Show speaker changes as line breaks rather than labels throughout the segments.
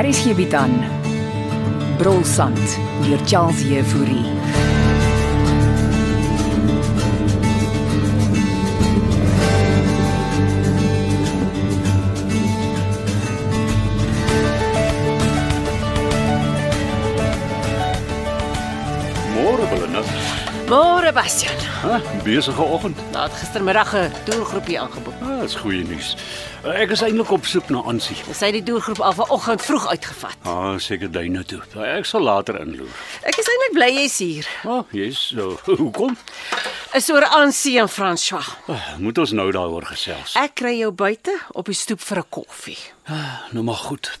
Hier is hierby dan. Brolsand deur Charles Jefouri.
Môre Belinda.
Môre Bastian.
Ah, besige oggend.
Daar het gistermiddag 'n toergroepie aangeboek.
Ah, dis goeie nuus. Eh, Ek is eintlik op soek na Ansie.
Sy het die toergroep al vanoggend vroeg uitgevat.
Ah, seker duine toe. Eh, Ek sal later inloer.
Ek is eintlik bly jy's hier.
Ah, jy's uh, hoekom?
Is oor Ansie en François.
Ah, moet ons nou daaroor gesels.
Ek kry jou buite op die stoep vir 'n koffie.
Ah, nou maar goed.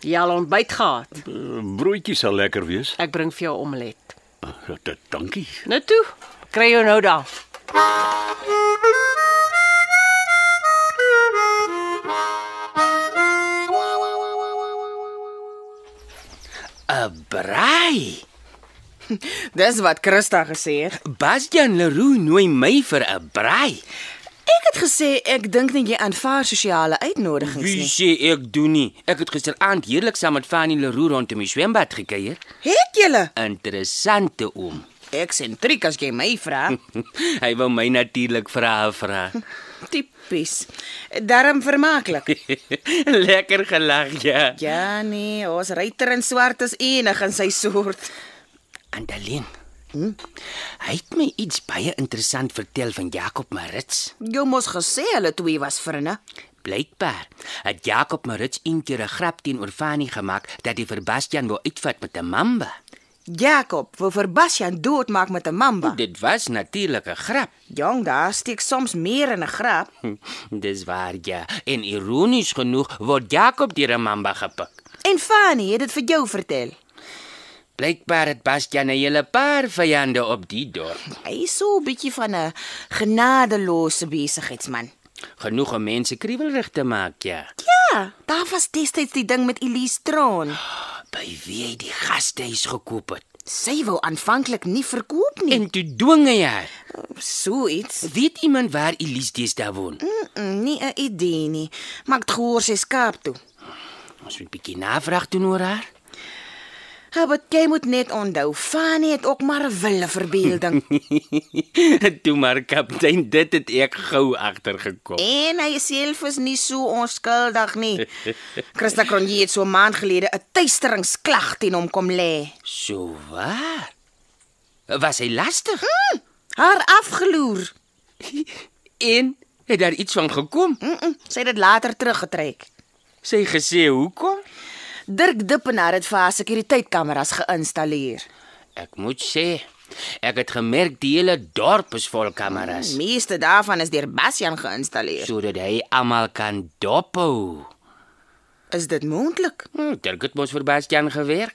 Jy al ontbyt gehad.
Uh, broodjie sal lekker wees.
Ek bring vir jou omelet.
Ah, dit dankie.
Nou toe. Kry jou nou daar.
Braai.
Dis wat Christa gesê het.
Bastian Leroux nooi my vir 'n braai.
Ek het gesê ek dink nie jy aanvaar sosiale uitnodigings
Wie
nie.
sê ek doen nie? Ek het gisteraand heerlik saam met Fanny Leroux rondom die swembad gekuier.
Het julle?
Interessante oom.
Ek sentriek as jy my vra.
Hy wou my natuurlik vra vra.
Tipies. Darm vermaaklik.
Lekker gelag ja.
Ja nee, ons ryter in swart is enig in sy soort.
Andaleen. Hm? Hy het my iets baie interessant vertel van Jakob Marits.
Jy mos gesê hulle twee was vriende.
Blykbaar het Jakob Marits eendag 'n grap teenoor Fanny gemaak dat hy vir Bastian wou uitvat met 'n mamba.
Jakob wou vir Bastian doodmaak met 'n mamba.
Dit was natuurlik 'n grap.
Jong, daar steek soms meer in 'n grap.
Dis waar ja. En ironies genoeg word Jakob deur 'n mamba gepik.
En Fanny het dit vir jou vertel.
Blykbaar het Bastian 'n hele paar vyande op die dorp.
Hy is so 'n bietjie van 'n genadelose besigheidsman.
Genoeg om mense kriewelrig te maak ja.
Ja, daar was destyds die ding met Elise Tron.
By wie hy die gastehuis gekoop het.
Sy wou aanvanklik nie verkoop nie.
En toe dwing hy haar.
En so iets.
Weet iemand waar Elise deesdae woon?
Mm, mm, nie 'n idee nie. Maar ek het gehoor sy skaap toe.
Ons moet 'n bietjie navraag doen oor haar.
Ja, wat jy moet net onthou, Fanny het ook maar 'n wille verbeelding.
toe maar kaptein, dit het ek gou agtergekom.
en hy self is nie so onskuldig nie. Christa Cronje het so 'n maand gelede 'n tuisteringsklag teen hom kom lê.
So waar? Was hy lastig?
Haar afgeloer.
En het daar iets van gekom?
Mm -mm, sy het dit later teruggetrek.
Sy gesê hoekom?
Dirk Dippenaar het vir haar sekuriteitkameras geïnstalleer.
Ek moet sê, ek het gemerk die hele dorp is vol kameras
Die meeste daarvan is deur Bastian geïnstalleer.
sodat hy almal kan dophou.
Is dit moontlik?
Hm, Dirk het mos vir Bastian gewerk.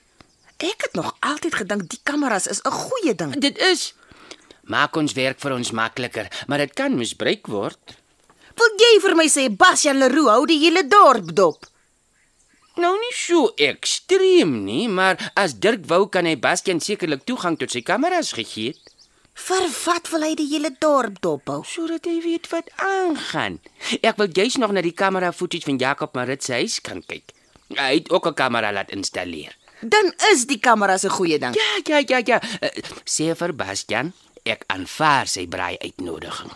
Ek het nog altyd gedink die kameras is 'n goeie ding.
Dit is maak ons werk vir ons makliker, maar dit kan misbruik word.
Wil jy vir my sê Bastian Leroux hou die hele dorp dop?
Nou nie so ekstreem nie, maar as Dirk wou kan hy Bastian sekerlik toegang tot sy kameras gegee het
Vir wat wil hy die hele dorp dop hou?
sodat hy weet wat aangaan. Ek wil juis nog na die kamera footage van Jakob Marit se huis kan kyk. Hy het ook 'n kamera laat installeer.
Dan is die kameras 'n goeie ding.
Ja, ja, ja, ja. Eh, Sê vir Bastian, ek aanvaar sy braai uitnodiging.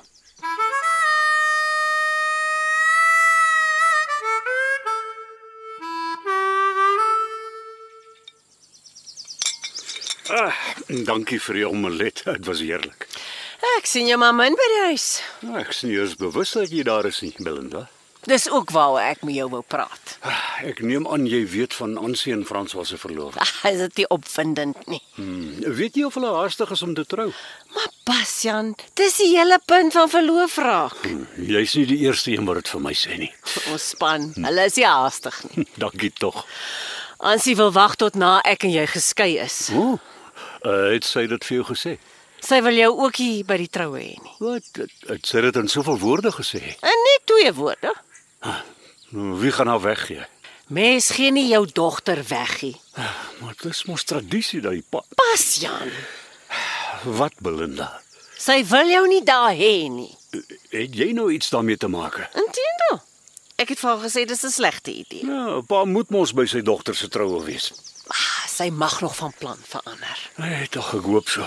Ah, dankie vir die omelet. Dit was heerlik.
Ek sien jou mamma in by die huis.
Ah, ek sien eers bewus dat jy daar is nie, Belinda.
Dis ook waaroor ek met jou wou praat.
Ah, ek neem aan jy weet van Ansie en François se verloving.
Ag, is dit nie opwindend nie.
Hmm, weet jy of hulle haastig is om te trou?
Maar Bastian, dis die hele punt van verloof raak.
Hmm, Jy's nie die eerste een wat dit vir my sê nie.
Ons span, hulle is nie haastig nie.
Dankie tog.
Ansie wil wag tot na ek en jy geskei is.
O. Oh, uh, het sy dit vir jou gesê?
Sy wil jou ook hier by die troue hê nie.
Wat? Het, het sy dit in soveel woorde gesê?
En net twee woorde.
Wie Nou, gaan haar weggee?
Mens gee nie jou dogter weggie.
Maar dit is mos tradisie dat die pa
Pas Jan,
wat Belinda.
sy wil jou nie daar hê nie.
Het jy nou iets daarmee te maak?
Inteendeel. Ek het vir haar gesê dis 'n slegte idee.
Ja, pa moet mos by sy dogter se troue wees.
Ah, sy mag nog van plan verander.
Hy het tog gekoop so.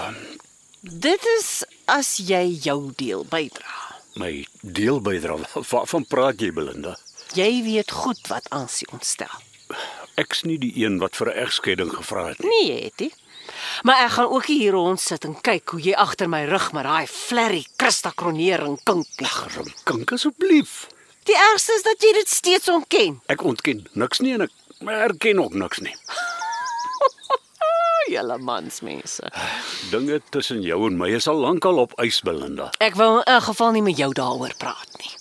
Dit is as jy jou deel bydra.
My deel bydra. Waarvan praat jy Belinda?
Jy weet goed wat Ansie ontstel.
Ek's nie die een wat vir 'n egskeiding gevra het nie.
Nee, jy het nie. Maar ek gaan ook nie hier rond sit en kyk hoe jy agter my rug met daai flerry Christa kronering kink. nie.
Gram kink asseblief.
Die ergste is dat jy dit steeds ontken.
Ek ontken niks nie en ek erken ook niks nie.
Ah, julle mansmense.
Dinge tussen jou en my is al lankal op ys Belinda.
Ek wil in 'n geval nie met jou daaroor praat nie.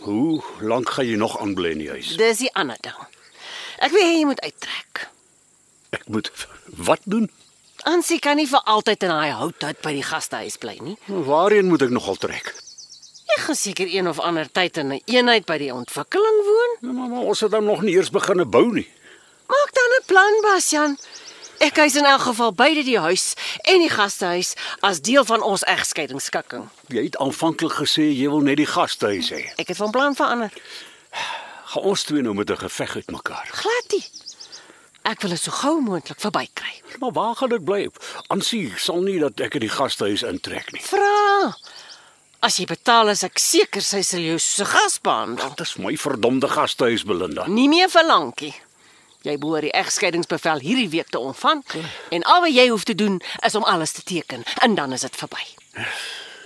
Hoe lank gaan jy nog aanbly in die huis?
Dis die ander ding. Ek wil hê jy moet uittrek.
Ek moet wat doen?
Ansie kan nie vir altyd in daai houthut by die gastehuis bly nie.
Waarheen moet ek nogal trek?
Jy gaan seker een of ander tyd in 'n eenheid by die ontwikkeling woon.
Nou, maar, maar ons het dan nog nie eers begine bou nie.
Maak dan 'n plan, Basjan. Ek hy's in elk geval beide die huis en die gastehuis as deel van ons egskeidingsskikking.
Jy het aanvanklik gesê jy wil net die gastehuis hê.
Ek het van plan verander.
Gaan ons twee nou met 'n geveg uitmekaar.
Glad nie. Ek wil dit so gou moontlik verbykry.
Maar waar gaan ek bly? Ansie sal nie dat ek in die gastehuis intrek nie.
Vra. As jy betaal is ek seker sy sal jou soos 'n gas behandel.
Dit is my verdomde gastehuis Belinda.
Nie meer vir lankie. Jy behoort die egskeidingsbevel hierdie week te ontvang en al wat jy hoef te doen is om alles te teken en dan is dit verby.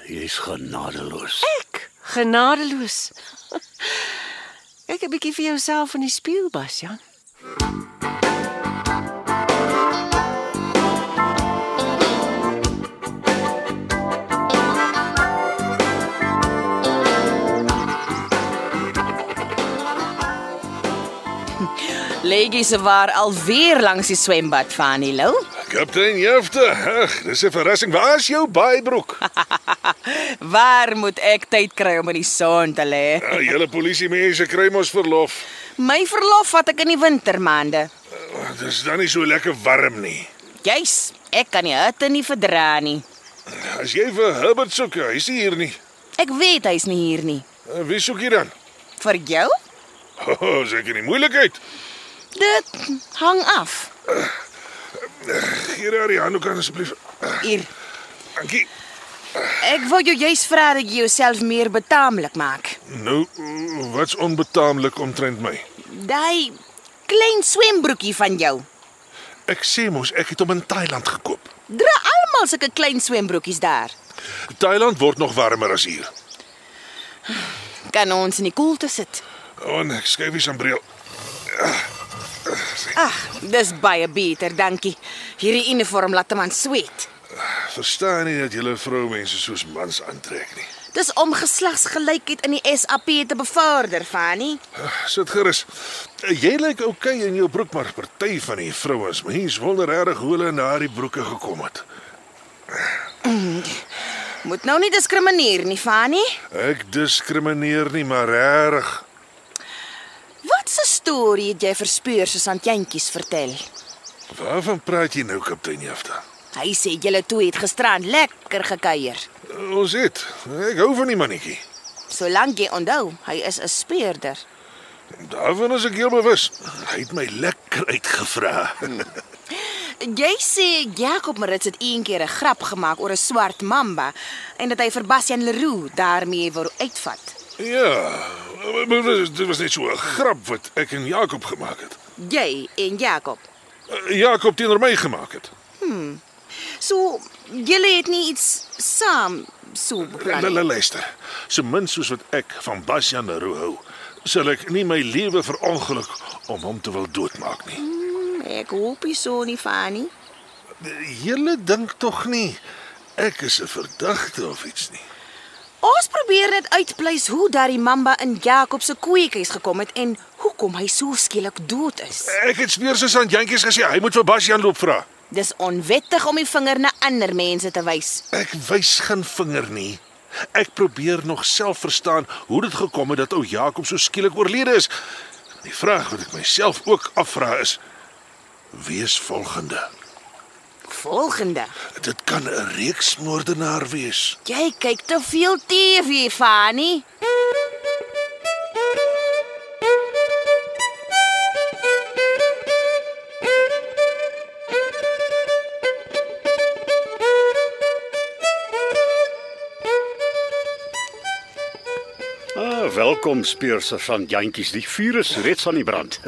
Jy's genadeloos.
Ek genadeloos. Kyk 'n bietjie vir jouself in die spieël, Basjan.
Leggie se waar alweer langs die swembad van Nilo.
Kaptein Jefte, ag, dis 'n verrassing. Waar is jou baaiebroek?
Waar moet ek tyd kry om in die son te lê?
Ja, julle polisie mense kry mos verlof.
My verlof vat ek in die wintermaande.
Ag, Ah, Dis dan nie so lekker warm nie.
Juis, ek kan die hitte nie verdra nie.
As jy vir Herbert soek, hy's nie hier nie.
Ek weet hy's nie hier nie.
Eh, Wie soek jy dan?
Vir jou?
O, oh, seker die moeilikheid.
Dit hang af.
Gee haar die handdoek aan asseblief.
Hier.
Dankie.
Ek wou jou juis vra dat jy jouself meer betaamlik maak.
Nou, mm, wat's onbetaamlik omtrent my?
Daai klein swembroekie van jou.
Ek sê mos ek het hom in Thailand gekoop.
Dra almal sulke klein swembroekies daar.
Thailand word nog warmer as hier.
Kan ons in die koelte sit.
O, oh, ek skuif die sambreel.
Ag, dis baie beter, dankie. Hierdie uniform laat 'n man sweet.
Verstaan nie dat julle vroumense soos mans aantrek nie.
Dis om geslagsgelykheid in die SAP te bevorder, Fanny.
Ah, Sit gerus. Eh, Jy lyk oukei okay in jou broek, maar party van die vrouens, mens wonder regtig hoe hulle na die broeke gekom het.
Moet nou nie diskrimineer nie, Fanny.
Ek diskrimineer nie, maar regtig.
Wat 'n storie het jy verspeur soos aan jentjies vertel?
Waarvan praat jy nou, kaptein Jefta?
Hy sê julle twee het gisteraan lekker gekuier.
Ons het. Ek hou van die mannetjie.
Solank jy onthou, hy is 'n speurder.
Daarvan is ek heel bewus. Hy het my lekker uitgevra.
Jy sê Jacob Marits het eendag 'n grap gemaak oor 'n swart mamba en dat hy vir Bastian Leroux daarmee wou uitvat.
ja. Maar dit was net so 'n grap wat ek en Jakob gemaak het. Eh,
Jy en Jacob.
Jakob teenoor my gemaak het.
So julle het nie iets saam so beplan. nie.
Hulle luister. So min soos wat ek van Basjan Leroux hou, sal ek nie my lewe verongeluk om hom te wil doodmaak nie.
Ek hoop nie so nie, Fanny.
Julle dink tog nie ek is 'n verdagte of iets nie.
Ons probeer net uitpleis hoe daardie mamba in Jacob se koeiekies gekom het en hoekom hy so skielik dood is.
Ek het weer soos aan jantjies gesê hy moet vir Basjan loop vra.
Dis onwettig om die vinger na ander mense te wys.
Ek wys geen vinger nie. Ek probeer nog self verstaan hoe dit gekom het dat ou Jakob so skielik oorlede is. Die vraag wat ek myself ook afvra is: wie is volgende?
Volgende.
Dit kan 'n reeksmoordenaar wees.
Jy kyk te veel TV, Fanny.
Ah, welkom speurser van Jantjies. Die vuur is reeds aan die brand.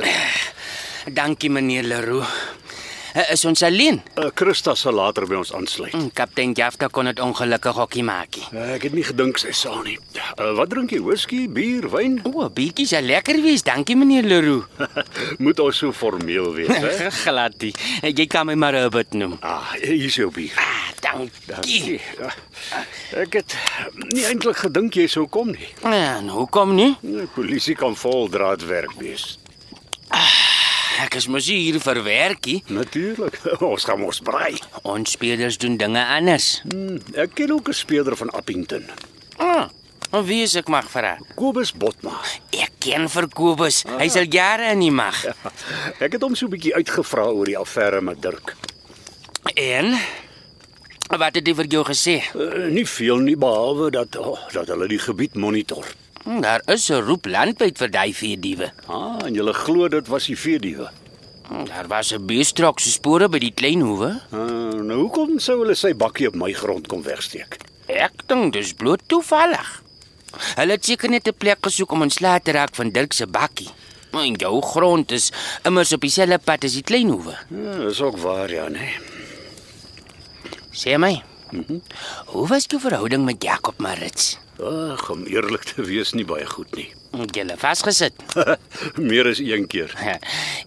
Dankie meneer Leroux. Eh, Is ons alleen?
Eh, Christa sal later by ons aansluit.
Hm, Kaptein Jafta kon dit ongelukkig hokkie maakie.
Eh, Ek het nie gedink sy sal nie. Eh, Wat drink jy? Whisky, bier, wyn?
O, biertjie sal lekker wees. Dankie meneer Leroux.
Moet ons so formeel wees, hè?
Eh, Glad nie. Eh, Jy kan my maar Robert noem.
Ah, hier is jou bier.
Ah, dankie.
Ja. Ek het nie eintlik gedink jy sou kom nie.
En hoekom nie?
Die polisie kan vol draadwerk wees.
Ek is mos nie hier vir werkie.
Natuurlik. Ons gaan mos braai.
Ons spelers doen dinge anders.
Hmm, Ek ken ook 'n speler van Appington.
Ah, en wie is ek mag vra?
Kobus Botma.
Ek ken vir Kobus. Hy sal jare in die mag.
Ek het hom so 'n bietjie uitgevra oor die affære met Dirk.
En wat het hy vir jou gesê?
Uh, nie veel nie behalwe dat oh, dat hulle die gebied monitor.
Hm, Daar is 'n roep landbyt vir daai vier diewe.
Ah, en julle glo dit was die veediewe.
Hm, Daar was 'n beestrok se spore by die klein hoewe.
Uh, nou hoekom sou hulle sy bakkie op my grond kom wegsteek?
Ek dink dis bloot toevallig. Hulle het seker net 'n plek gesoek om ontslae te raak van Dirk se bakkie. Maar en jou grond is immers op dieselfde pad as die klein hoewe.
Ja, dis ook waar ja, nee.
Sê my. Hoe was jou verhouding met Jakob Marits?
Ag, om eerlik te wees nie baie goed nie.
Hm, Het julle vasgesit?
Meer as een keer.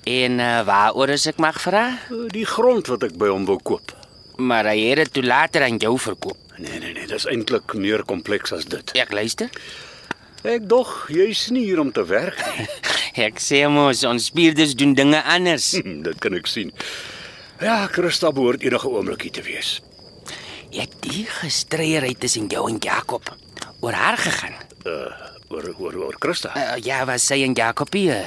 en uh, waaroor as ek mag vra?
Uh, Die grond wat ek by hom wou koop.
Maar hy het dit toe later aan jou verkoop.
Nee nee nee, dis eintlik meer kompleks as dit.
Ek luister.
Ek dog jy's nie hier om te werk nie.
Ek sê mos ons spierdes doen dinge anders.
Hm, dit kan ek sien. Ja, Christa behoort enige oomblik hier te wees.
Jy het die gestryery tussen jou en Jakob oor haar gegaan.
Uh oor oor oor Christa.
Uh, ja, was sy en Jakob hier?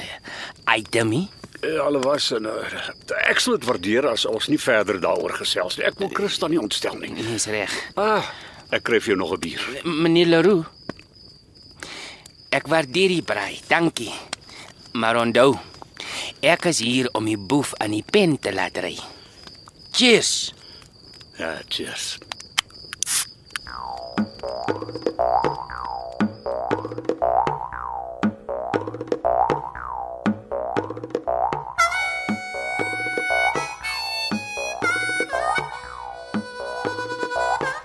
Ai, dummy.
Uh, Alle was en uh, ek sal dit waardeer as ons nie verder daaroor gesels nie. Ek wil Christa nie ontstel nie.
Jy's Nee, reg.
Ah, ek kry vir jou nog 'n bier.
M- Meneer Leroux. Ek waardeer die braai, dankie. Maar onthou, ek is hier om die boef aan die pen te laat ry. Cheers.
Ja, cheers.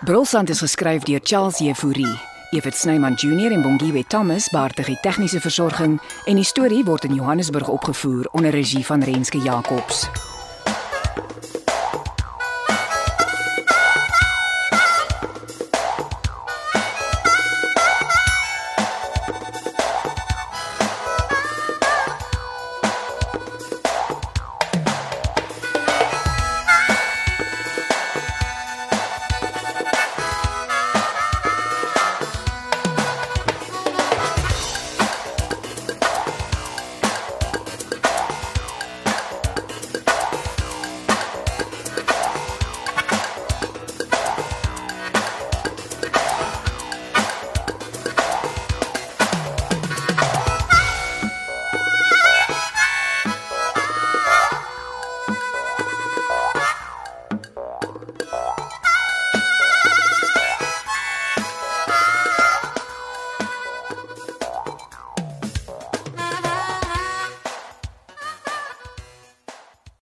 Brolsand is geskryf deur Charles Jefouri. Evit Snyman Junior en Bongwe Thomas baartig die tegniese versorging en die storie word in Johannesburg opgevoer onder regie van Renske Jacobs.